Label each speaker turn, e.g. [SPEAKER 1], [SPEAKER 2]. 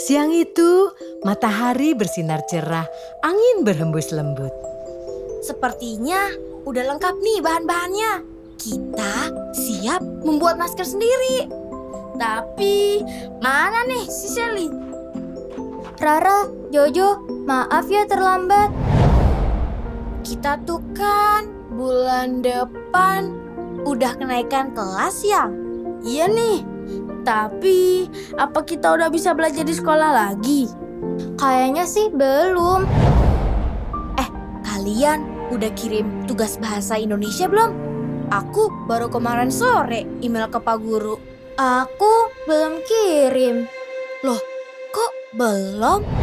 [SPEAKER 1] Siang itu, matahari bersinar cerah, angin berhembus lembut.
[SPEAKER 2] Sepertinya udah lengkap nih bahan-bahannya. Kita siap membuat masker sendiri. Tapi mana nih si Sally?
[SPEAKER 3] Rara, Jojo, maaf ya terlambat.
[SPEAKER 2] Kita tuh kan bulan depan udah kenaikan kelas ya? Iya nih. Tapi apa kita udah bisa belajar di sekolah lagi?
[SPEAKER 3] Kayaknya sih belum.
[SPEAKER 2] Kalian udah kirim tugas bahasa Indonesia belum? Aku baru kemarin sore email ke Pak Guru.
[SPEAKER 3] Aku belum kirim.
[SPEAKER 2] Kok belum?